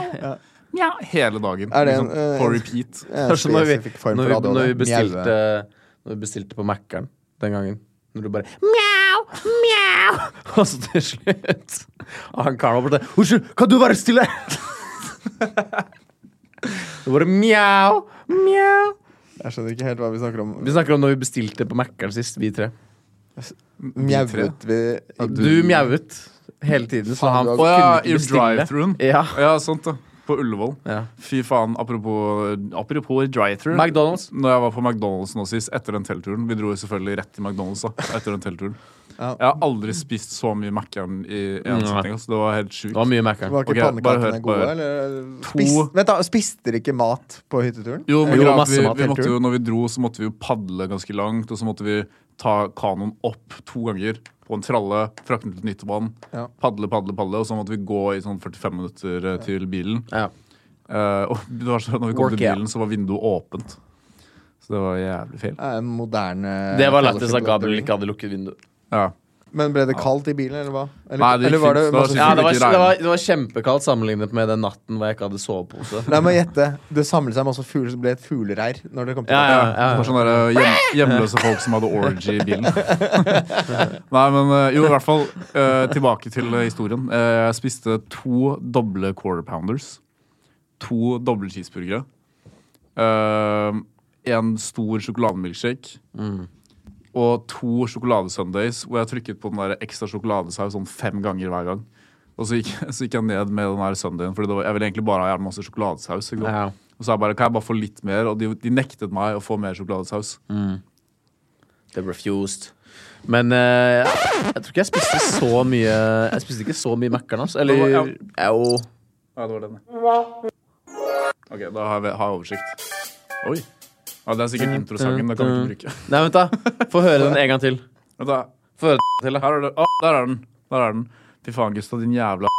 Mjau. hele dagen. Er det en, liksom, eh, på en- repeat. En Kanskje når vi, spesifikk form når, for vi, ADHD. når vi bestilte Mjaue. Når vi bestilte på Mækkern den gangen. Når du bare Mjau, mjau. Og så til slutt Og han karen var borte. Unnskyld, kan du være stille? Det var mjau, mjau. Jeg skjønner ikke helt hva vi snakker om. Vi snakker om når vi bestilte på Mækkern sist, vi tre. Mjauet vi Du mjauet hele tiden, så Faen, han du har- Å ja, kunne i ikke bestille. drive-thruen. Ja. Ja, sant det. På Ullevål. Ja. Fy faen, apropos, apropos drive-thru. McDonald's. Når jeg var på McDonald's nå sist, etter den teltturen Vi dro jo selvfølgelig rett til McDonald's da, etter den teltturen. Ja. Jeg har aldri spist så mye Mac-en i én setning. Altså. Det var helt Det sjukt. var mye Mækkern. Var ikke Ok, bare hør, pannekakene gode, bare hør. eller? Spist, vent, da. Spiste dere ikke mat på hytteturen? Jo, men Jo, greit, masse vi, mat vi hele måtte turen. jo, når vi dro, så måtte vi jo padle ganske langt, og så måtte vi ta kanoen opp to ganger på en tralle, frakte den til Nyttebanen, Ja. padle, padle, padle, og så måtte vi gå i sånn 45 minutter eh, til bilen. Ja. Eh, og det var sånn at når vi kom Work, til bilen, så var vinduet åpent. Så det var jævlig feil. Det er en moderne Det var lættis at Gabriel ikke hadde lukket vinduet. Ja. Men ble det kaldt i bilen, eller hva? Eller, Nei, det gikk eller var det fint, så masse det Ja, det var, Ikke det, regn. var, det var kjempekaldt sammenlignet med den natten hvor jeg ikke hadde sovepose. Nei, men gjette. Det samlet seg masse fugler, så det ble et fuglereir når det kom til Ja, ja, ja. Det var sånne der eh, hjem, hjemløse folk som hadde orgy i bilen. Nei, men eh, jo, i hvert fall eh, tilbake til eh, historien. Eh, jeg spiste to doble quarter pounders. To doble cheeseburgere. Eh, en stor sjokolademilkshake. Og to sjokoladesundays hvor jeg trykket på den der ekstra sjokoladesaus sånn fem ganger hver gang. Og så gikk, så gikk jeg ned med den der sundayen, for jeg ville egentlig bare ha jævlig masse sjokoladesaus. Ikke sant? Ja. Og så jeg bare, kan jeg bare få litt mer? Og de, de nektet meg å få mer sjokoladesaus. Mm. Det ble refused. Men eh, jeg tror ikke jeg spiste så mye Jeg spiste ikke så mye Mækkern, altså. Eller Det var- jo. Ja, det var den. ja. Ok, da har jeg, har jeg oversikt. Oi. Ja, det er sikkert Mm. introsangen. Det kan vi ikke bruke. Nei, vent, da. Få høre den en gang til. Vent da. Få høre Til, Her er det. Å, der er den. Der er den. Fy faen, Gustav, din jævla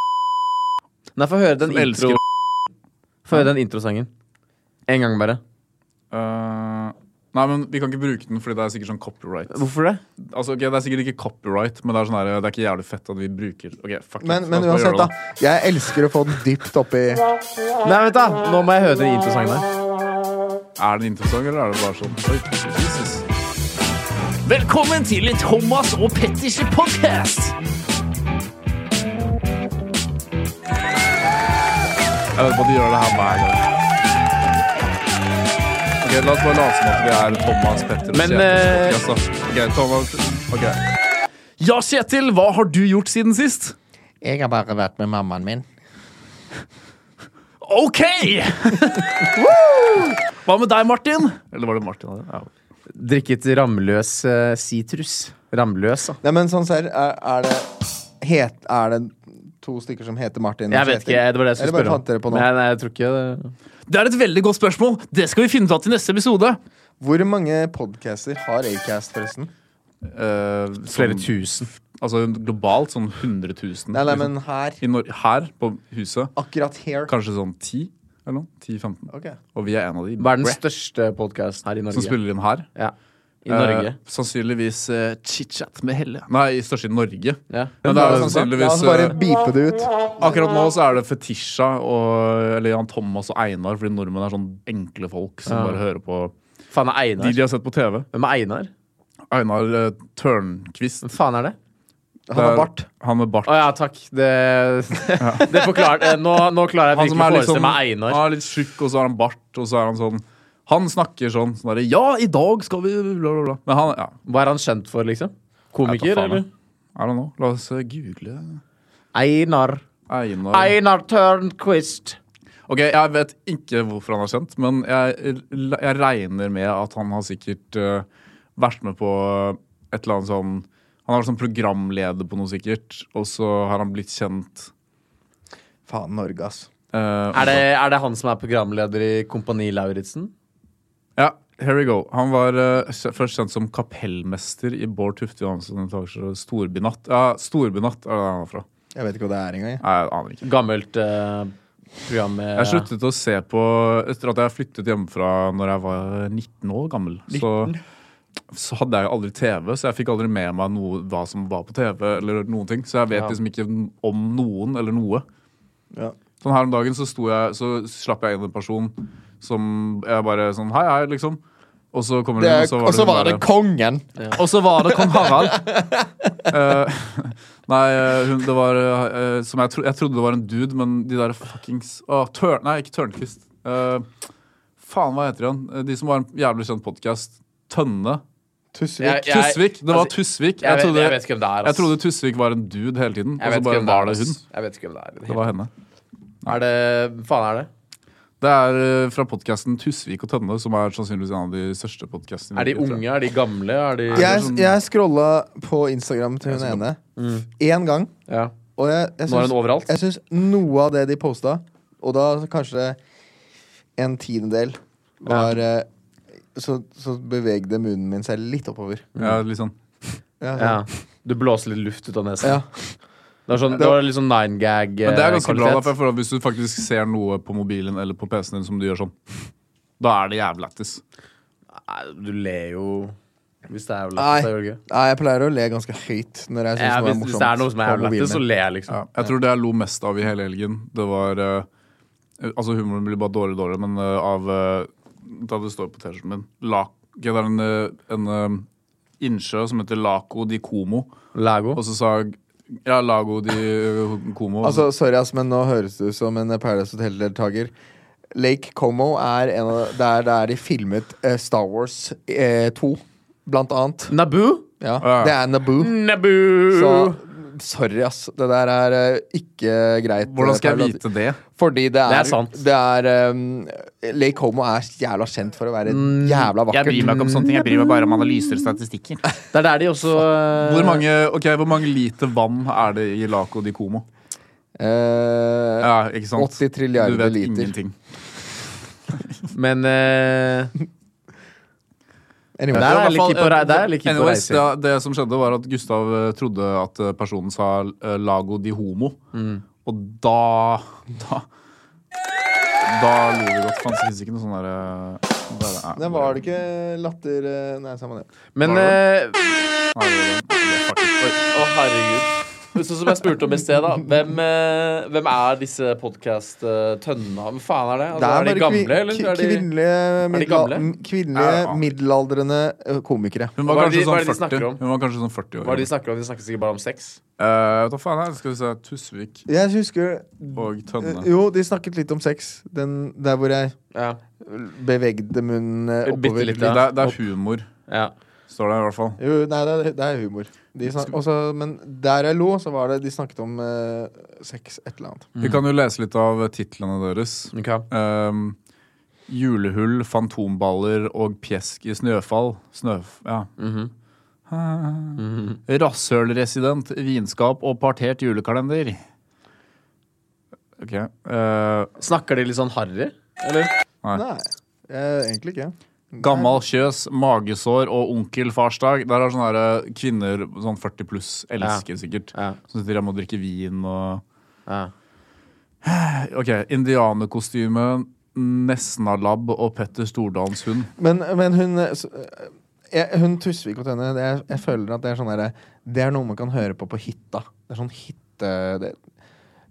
Nei, få høre den Som elsker intro Få høre den introsangen. En gang bare. Eh, Nei, men vi kan ikke bruke den, fordi det er sikkert sånn copyright. Hvorfor det? Altså, ok, Det er sikkert ikke copyright, men det er sånn her, det er ikke jævlig fett at vi bruker Ok, fuck it. La oss Men, men bare gjøre uansett, da. det. Jeg elsker å få den dypt oppi Nei, vent, da. Nå må jeg høre den introsangen der. Er det en introsang, eller er det bare sånn? Oi, Jesus. Velkommen til Thomas og Petters podcast! Jeg vet på at de gjør det her hver gang. Ok, La oss bare late som at vi er Thomas Petter og Men, Kjetil som podcast, da. Ok, Thomas Ok. Ja, Kjetil, hva har du gjort siden sist? Jeg har bare vært med mammaen min. OK! Hva med deg, Martin? Eller var det Martin? hadde? Ja. Drikket ramløs eh, sitrus. ramløs, da. Nei, men sånn serr, er, er det het, Er det to stykker som heter Martin? og Jeg vet Kjetil? ikke. Det var det jeg Eller skulle bare spørre fant dere på om. nå? Nei, nei, jeg tror ikke det. Det er et veldig godt spørsmål. Det skal vi finne ut av til neste episode. Hvor mange podcaster har Acast, forresten? Eh, sånn- Flere tusen. Altså globalt sånn 100 000. Nei, nei, liksom. men her. I Nor her, på huset, Akkurat her. kanskje sånn 10 eller noe. 10-15. Ok. Og vi er en av de Verdens Brett, største podkast her i Norge. som spiller inn her. Ja. I Eh, Norge. sannsynligvis eh, chit-chat med Helle. Nei, størst i Norge. Ja. Men det er jo Sånn, la sannsynligvis oss bare eh, beepe det ut. Akkurat nå så er det Fetisha og eller Jan Thomas og Einar, fordi nordmenn er sånn enkle folk som Ja. bare hører på Faen er de Einar. de har sett på TV. Hvem er Einar? Einar eh, Tørnquist. Hvem faen er det? Han har bart. Han med bart. Å ja, takk. Det, det forklarte Nå, nå klarer jeg Han virkelig som å er litt, forestille sånn, meg han Einar. er litt tjukk, og så har han bart, og så er han sånn Han snakker sånn sånn derre Ja, i dag skal vi bla, bla, bla. Men han ja, Hva er han kjent for, liksom? Jeg Komiker, tar faen, eller? I don't know. La oss eh, google Einar. Einar Einar Tørnquist. Ok, Jeg vet ikke hvorfor han er kjent, men jeg, jeg regner med at han har sikkert eh, vært med på et eller annet sånn Han har vært sånn programleder på noe sikkert, og så har han blitt kjent eh, Faen, Norge, ass. Er det, er det han som er programleder i Kompani Lauritzen? Ja, here we go. Han var eh, kj- først kjent som kapellmester i Bård Tufte Johansen Etasje Storbynatt. Ja, Storbynatt er det han er fra. Jeg vet ikke hva det er engang. jeg. Nei, jeg aner ikke. Gammelt eh, program med Jeg sluttet å se på etter at jeg flyttet hjemmefra når jeg var 19 år gammel. Så, så hadde jeg jo aldri TV, så jeg fikk aldri med meg noe, hva som var på TV. eller noen ting, Så jeg vet liksom ikke om noen eller noe. Ja. Sånn Her om dagen så, sto jeg, så slapp jeg inn en person som jeg bare sånn Hei, hei, liksom. Og så kommer hun, og så var det, hun bare- kongen! og så var det kong Harald. Eh, nei, eh, hun, det var eh, som jeg, tro, jeg trodde det var en dude, men de der fuckings Å, tør, Nei, ikke Tørnquist. Eh, faen, hva heter de igjen? Eh, De som har en jævlig kjent podkast. Tønne. Jeg- Tusvik. jeg- Tusvik! Det var altså, Jeg, Tusvik. Jeg vet, trodde, jeg vet ikke hvem det er. jeg trodde Tusvik var en dude hele tiden, og så bare var det hun. Jeg vet ikke hvem det er. Det var henne. Er det Hvem faen er det? Det er eh, fra podkasten Tusvik og Tønne, som er sannsynligvis en av de største podkastene. Er de unge? Er de gamle? Er sånn- de Jeg, jeg scrolla på Instagram til hun sånn- ene Mm. én gang, ja. og jeg, jeg Nå er hun syns- overalt. jeg syns noe av det de posta, og da kanskje en tiendedel, var eh, så, så bevegde munnen min seg litt oppover. Ja, litt sånn. Ja, Ja. sånn. Du blåser litt luft ut av nesen. ja. Det, var sånn, det var litt sånn nine Men det er ganske bra, da, for gag-kvalitet. jeg føler at hvis du faktisk ser noe på mobilen eller på PC-en din som du gjør sånn, da er det jævlig lættis. Du ler jo Hvis det er jo Nei. lættis, så gjør det gøy. Nei, jeg pleier å le ganske høyt når jeg syns Ja, noe hvis, er morsomt. hvis det er noe som er på mobilen lættis, så min. ler jeg, liksom. Ja, jeg tror det jeg lo mest av i hele helgen, det var eh, Altså, humoren blir bare dårligere og dårligere, men eh, av eh, Da det står på T-skjorten min Lak, Det er en, eh, en eh, innsjø som heter Laco di Como, Lago. og så sa jeg- Ja, Lago di eh, Como. Altså, sorry, ass, men nå høres du ut som en Paradise Hotel-deltaker. Lake Como er en av Det er der de filmet eh, Star Wars eh, 2, blant annet. Naboo? Ja. Ja. Det er Naboo. Naboo! Så sorry, ass. Det der er eh, ikke greit. Hvordan skal Paradise jeg vite det? Fordi det er, Det er sant. det er, um, Lake Como er jævla kjent for å være jævla Jeg vakkert. bryr meg ikke om sånne ting. Jeg bryr meg bare om analyser og statistikker. Det er der de også eh, Hvor mange, ok, hvor mange liter vann er det i Laco di Como? Eh, Ja, ikke sant? 80 trilliarder Du vet liter. ingenting. Men eh, anyway. Der er jeg Det var i litt hvert keen på fall- eh, rei- der er jeg litt keen på Anyways, reise. det, det som skjedde, var at Gustav eh, trodde at eh, personen sa eh, 'lago di homo'. Mm. Og da Da, da lo vi godt. Fantes det ikke noe sånn derre der, eh, Nei, var det ikke latter eh, Nei, samme det. Men eh, Nei, det var det. Fuck it. Oi. Å, herregud. Men Sånn som jeg spurte om i sted, da. Hvem, eh, hvem er disse podkast-tønnene? Hvem faen er det? Altså, er, de bare kvi- gamle, eller? kvi- Er de, kvinnelige, de midla- gamle? m- kvinnelige Ja, ja. middelaldrende eh, komikere. Hun var, Hva er kanskje det de- hva er det de sånn 40. snakker om? Hun var kanskje sånn hva 40 er år. det de snakker om? De snakker sikkert bare om sex. Eh, hva faen er det? Skal vi se Tusvik Jeg husker og Tønne. Jo, de snakket litt om sex. Den der hvor jeg Ja. bevegde munnen eh, Bitte oppover. litt, Det ja. er, det er humor, ja. står det i hvert fall. Jo, nei, det er, det er humor. De snak, også, men der jeg lo, så var det de snakket om eh, sex et eller annet. Vi Mm. kan jo lese litt av titlene deres. Ok. Ehm, julehull, fantomballer og pjesk i snøfall. Snøf... Ja. Mhm. Rasshølresident, vinskap og partert julekalender. OK. eh, Snakker de litt sånn harry? Nei, eh, egentlig ikke. gammal kjøs, magesår og onkelfarsdag. Der er sånne her, eh, kvinner sånn 40 pluss elsker sikkert. Ja. Som sier jeg må drikke vin og Ja. OK. Indianerkostyme, Nesnalabb og Petter Stordalens hund. Men, men hun eh, s- eh, jeg, Hun Tusvik og Tønne, det er, jeg føler at det er sånn derre Det er noe man kan høre på på hytta. Det er sånn hytte... Det,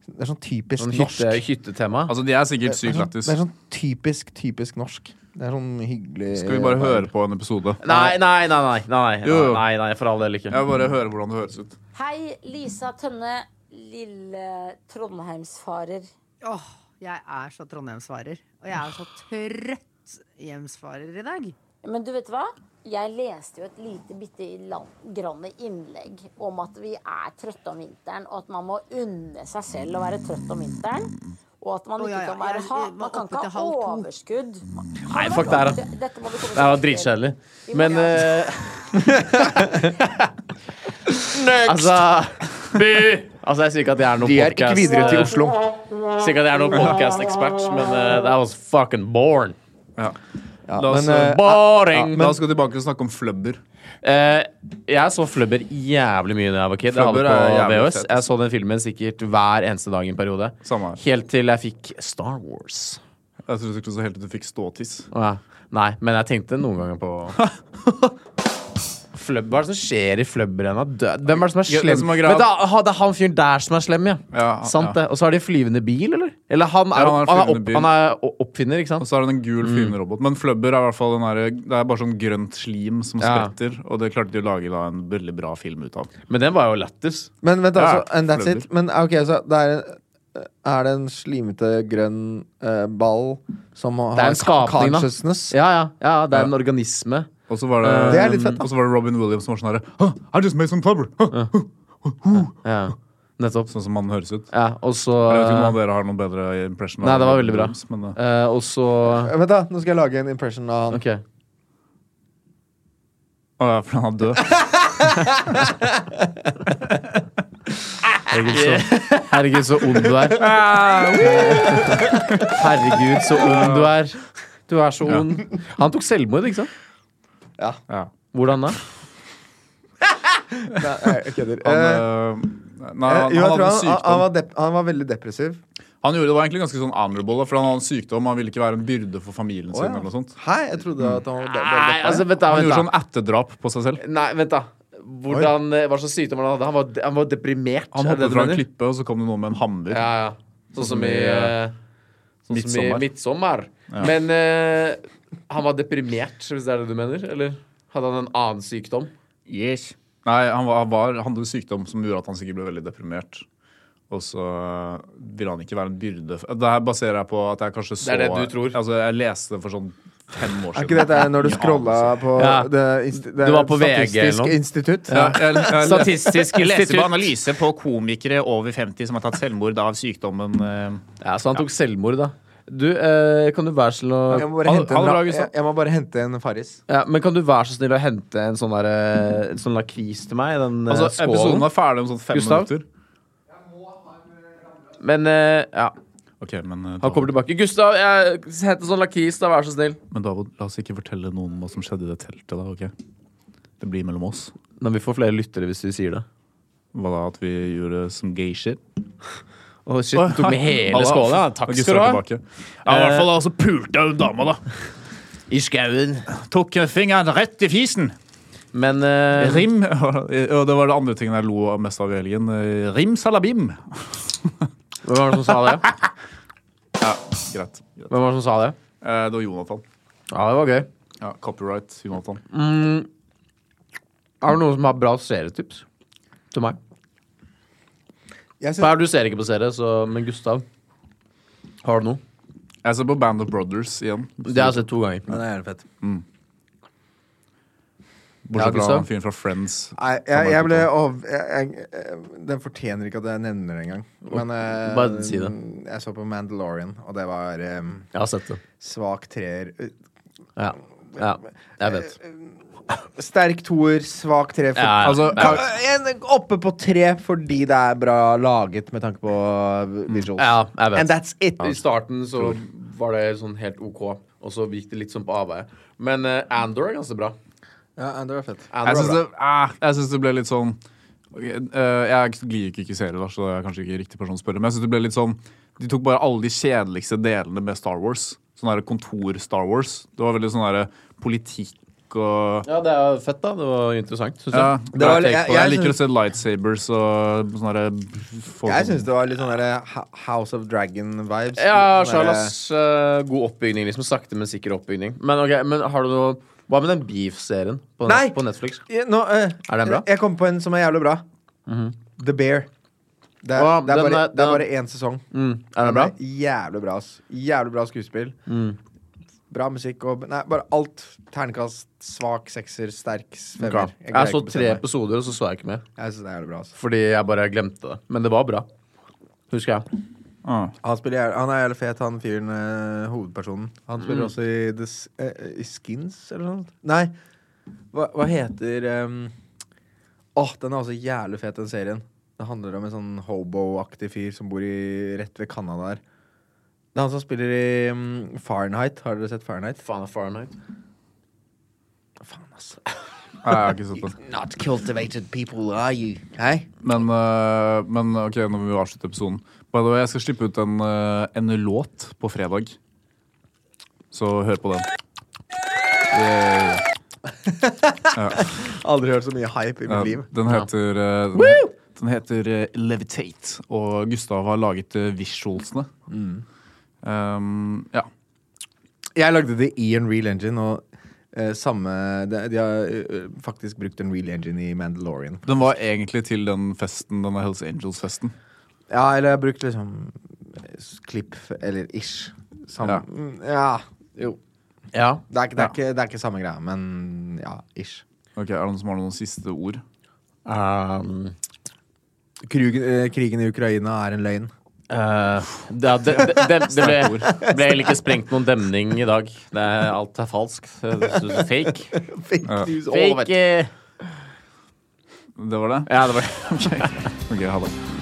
det er sånn typisk Sånn norsk. hytte, hyttetema? Altså, de er Det sikkert er sånn- sykt lættis. Det er sånn typisk, typisk norsk. Det er sånn hyggelig Skal vi bare høre på en episode? Nei, nei, nei. nei, nei, Jo, jo. nei, nei, nei For all del ikke. Jeg vil bare høre hvordan det høres ut. Hei, Lisa Tønne, lille Trondheimsfarer. Åh, jeg er så Trondheimsvarer. Og jeg er så trøtt hjemsvarer i dag. Men du vet hva? Jeg leste jo et lite bitte i land- grann innlegg om at vi er trøtte om vinteren, og at man må unne seg selv å være trøtt om vinteren. Og at man Å, ikke ja, ja. kan være Jeg- ha, jeg var Man kan oppe ikke til ha halv to. overskudd. Nei, fuck det her, da. Dette må vi komme Det her var tilbake til. dritkjedelig. Vi må- Men ja. eh, Altså By! Altså, jeg sier ikke at jeg er noen De er ikke podcast- videre til Oslo. Sier ikke at jeg er noen podcast-ekspert, men eh, that was fucking born. Ja, La oss, men, eh, Boring! La oss gå tilbake og snakke om flubber. Eh, jeg så Flubber jævlig mye da jeg var kid. Jeg hadde Flubber det er på jævlig VHS. fett. Jeg så den filmen sikkert hver eneste dag i en periode. Samme her. Helt til jeg fikk Star Wars. Jeg trodde ikke så helt at du fikk ståtiss. Å, ja. Nei, men jeg tenkte noen ganger på Flubber, Hva er det som skjer i Flubber ennå? Dø- Hvem er det som er Ja, det slem? som er greia- Men det, er, ha, det er han fyren der som er slem, ja. Ja, Sant ja. det. Og så har de flyvende bil, eller? Eller han er, Ja, han har han er, flyvende opp, bil. han er o- oppfinner, ikke Og sant? så er det en gul Mm. flyvende robot. Men flubber er i hvert fall den der, det er bare sånn grønt slim som Ja. spretter. Og det klarte de å lage da, en veldig bra film ut av. Men den var jo lættis. Men vent, altså. Ja, and that's flubber. it. Men ok, så det er, eh, er det en slimete grønn eh, ball som har Det er en skapning, da. consciousness? Ja, ja, ja, det er en organisme. Og så var det, Det er litt fett, da. og så var det Robin Williams som var sånn herre «Huh, I just made some flubber! Huh, huh, huh». Ja, nettopp. Sånn som han høres ut. Ja, og så Jeg vet ikke om noen av dere har noen bedre impression. av Nei, det var Robin veldig bra. Williams, men, eh, eh, Og så Vent, da. Nå skal jeg lage en impression av han. Ok. å, ja, for han er død. Herregud, så, herregud, så ond du er. Ah, Herregud, så ond du er. Du er så ond. Han tok selvmord, ikke sant? Ja. Hvordan da? Nei, jeg kødder. Han, Eh, eh, nei, han, eh, jo, jeg han hadde tror en han, han, sykdom. var dep han var veldig depressiv. Han gjorde det var egentlig ganske sånn honorable, for han hadde en sykdom. Han ville ikke være en byrde for familien Å, sin. ja. eller noe sånt Hei, jeg trodde at han var be- Nei, altså, vent da, Han vent gjorde da. sånn etterdrap på seg selv. Nei, vent, da. Hvordan, eh, hva slags sykdom han hadde? Han var, han var deprimert. Han er det hoppet du fra en mener? klippe, og så kom det noen med en hammer. Ja, ja. Sånn som i eh, Sånn som i Midtsommer. Midtsommer. Ja. Men eh, han var deprimert, hvis det er det du mener? Eller hadde han en annen sykdom? Yes. Nei, han, var, han, var, han hadde en sykdom som gjorde at han sikkert ble veldig deprimert. Og så øh, ville han ikke være en byrde for- Det her baserer jeg på at jeg kanskje så Det er det du tror. Altså, jeg leste det for sånn fem år Er siden. ikke dette når du scrolla på Ja. det, insti- det Du var på Statistisk VG eller noe? institutt? Ja, jeg- jeg- Statistisk Jeg leste institutt. på analyse på komikere over 50 som har tatt selvmord av sykdommen øh. Ja, Så han tok selvmord, da. Du, eh, kan du være så snill å Jeg må bare hente en, ra- sånn? jeg, jeg må bare hente en Farris. Ja, men kan du være så snill å hente en sånn, der, eh, en sånn lakris til meg? i Den eh, Altså, skålen? episoden er ferdig om sånn fem minutter. Men, eh, ja. Ok, men eh, Han kommer tilbake. Gustav, jeg hent en sånn lakris, da, vær så snill. Men David, la oss ikke fortelle noen om hva som skjedde i det teltet. da, ok? Det blir mellom oss. Men vi får flere lyttere hvis vi sier det. Hva da, at vi gjorde some gay shit? Å, shit, den tok med hele skålen, ja. Takk skal du ha. Ja, i hvert Eh, fall altså pulte hun dama, da. I skauen. Tok fingeren rett i fisen. Men eh, Rim Og det var det andre tingen jeg lo mest av i helgen. Eh, Rim salabim. Hvem var det som sa det? Ja, greit. Hvem var det som sa det? Det var Jonathan. Ja, det var gøy. Ja, Copyright Jonathan. Mm. Er det noen som har bra serietips til meg? Per, du ser ikke på serie, så, men Gustav Har du noe? Jeg ser på Band of Brothers igjen. Det har jeg sett to ganger. Ja, det er jævlig fett. Mm. Ja, Bortsett Gustav? fra han fyren fra Friends. Nei, jeg, jeg ble av... Jeg, jeg, den fortjener ikke at jeg nevner det engang. Men eh, Bare si det. jeg så på Mandalorian, og det var eh, Jeg har sett det. svak treer. eh, Ja. ja. Jeg vet. Sterk toer, svak tre for, Ja, ja. altså, Ja. kan- en, Oppe på tre fordi det er bra laget med tanke på eh, visuals. Ja, jeg vet. And that's it. I starten så var det sånn helt OK, og så gikk det litt sånn på avveie. Men eh, Andor er ganske bra. Ja, Andor er fett. Andor Jeg er syns bra. det, ah, jeg synes det ble litt sånn ok, eh, Jeg glir ikke i serier, da, så det er kanskje ikke riktig person å spørre. Men jeg synes det ble litt sånn De tok bare alle de kjedeligste delene med Star Wars. Sånn der kontor-Star Wars. Det var veldig sånn der politikk og Ja, det er jo fett, da. Det var interessant, syns jeg. ja, Det bra var- take jeg- på det. jeg jeg liker å synes- se lightsabers og sånne der eh, folk Jeg som- syns det var litt sånn der Ha- House of Dragon-vibes. Ja, Sånn der- Charlas eh, god oppbygning. Liksom Sakte, men sikker oppbygning. Men ok, men har du noe Hva med den beef-serien på, net Nei! på Netflix? Ja, Nå, eh, Er den bra? Mhm. Jeg kom på en som er jævlig bra. The Bear. Det er, Å, det er den bare, er- det den- er bare én sesong. Mm, er den bra? Jævlig bra. ass. Jævlig bra skuespill. Mm. Bra musikk og Nei, bare alt. Ternekast, svak sekser, Ok. sterk femmer. Jeg, greier så ikke å tre bestemme meg. episoder, og så så jeg ikke mer. Jeg synes det er jævlig bra ass. Fordi jeg bare glemte det. Men det var bra. Husker jeg. Ah, Han, spiller, jævlig- han er jævlig fet, han fyren eh, hovedpersonen. Han spiller Mm. også i, The S- eh, i Skins, eller noe sånt. Nei, hva, hva heter ehm, Åh, den er også jævlig fet, den serien. Det handler om en sånn hobo-aktig fyr som bor i, rett ved Canada her. Det er han som spiller i mm, Fahrenheit. Har dere sett Fahrenheit? Faen er Fahrenheit. Faen, altså. Nei, jeg har ikke sett det. Not cultivated people, are you? Hei? Men, eh, men ok, nå må vi jo avslutte episoden. By the way, jeg skal slippe ut en, eh, en låt på fredag. Så hør på den. Yeah. Ja. Aldri hørt så mye hype i mitt Ja, liv. den heter, eh, den, Woo! den heter eh, Levitate, og Gustav har laget eh, visualsene. Mm. Um, ja. Jeg lagde det i en real engine, og eh, samme De, de har eh, faktisk brukt en real engine i Mandalorian. Den var egentlig til den festen, denne Hells Angels-festen. Ja, eller jeg har brukt liksom eh, s- klipp, eller ish. Samme Ja. Mm, ja. Jo. Ja. Det er, ikke- det, er ikke, det er ikke samme greia, men ja, ish. Ok, Er det noen som har noen siste ord? Um, Krugen, eh, krigen i Ukraina er en løgn. eh, det, det, det, det, det ble, ble heller ikke sprengt noen demning i dag. Det er, alt er falskt. Det er Fake. Fake Ja. news all Fake, eh, Det var det? Ja, det var det. ok, ha det.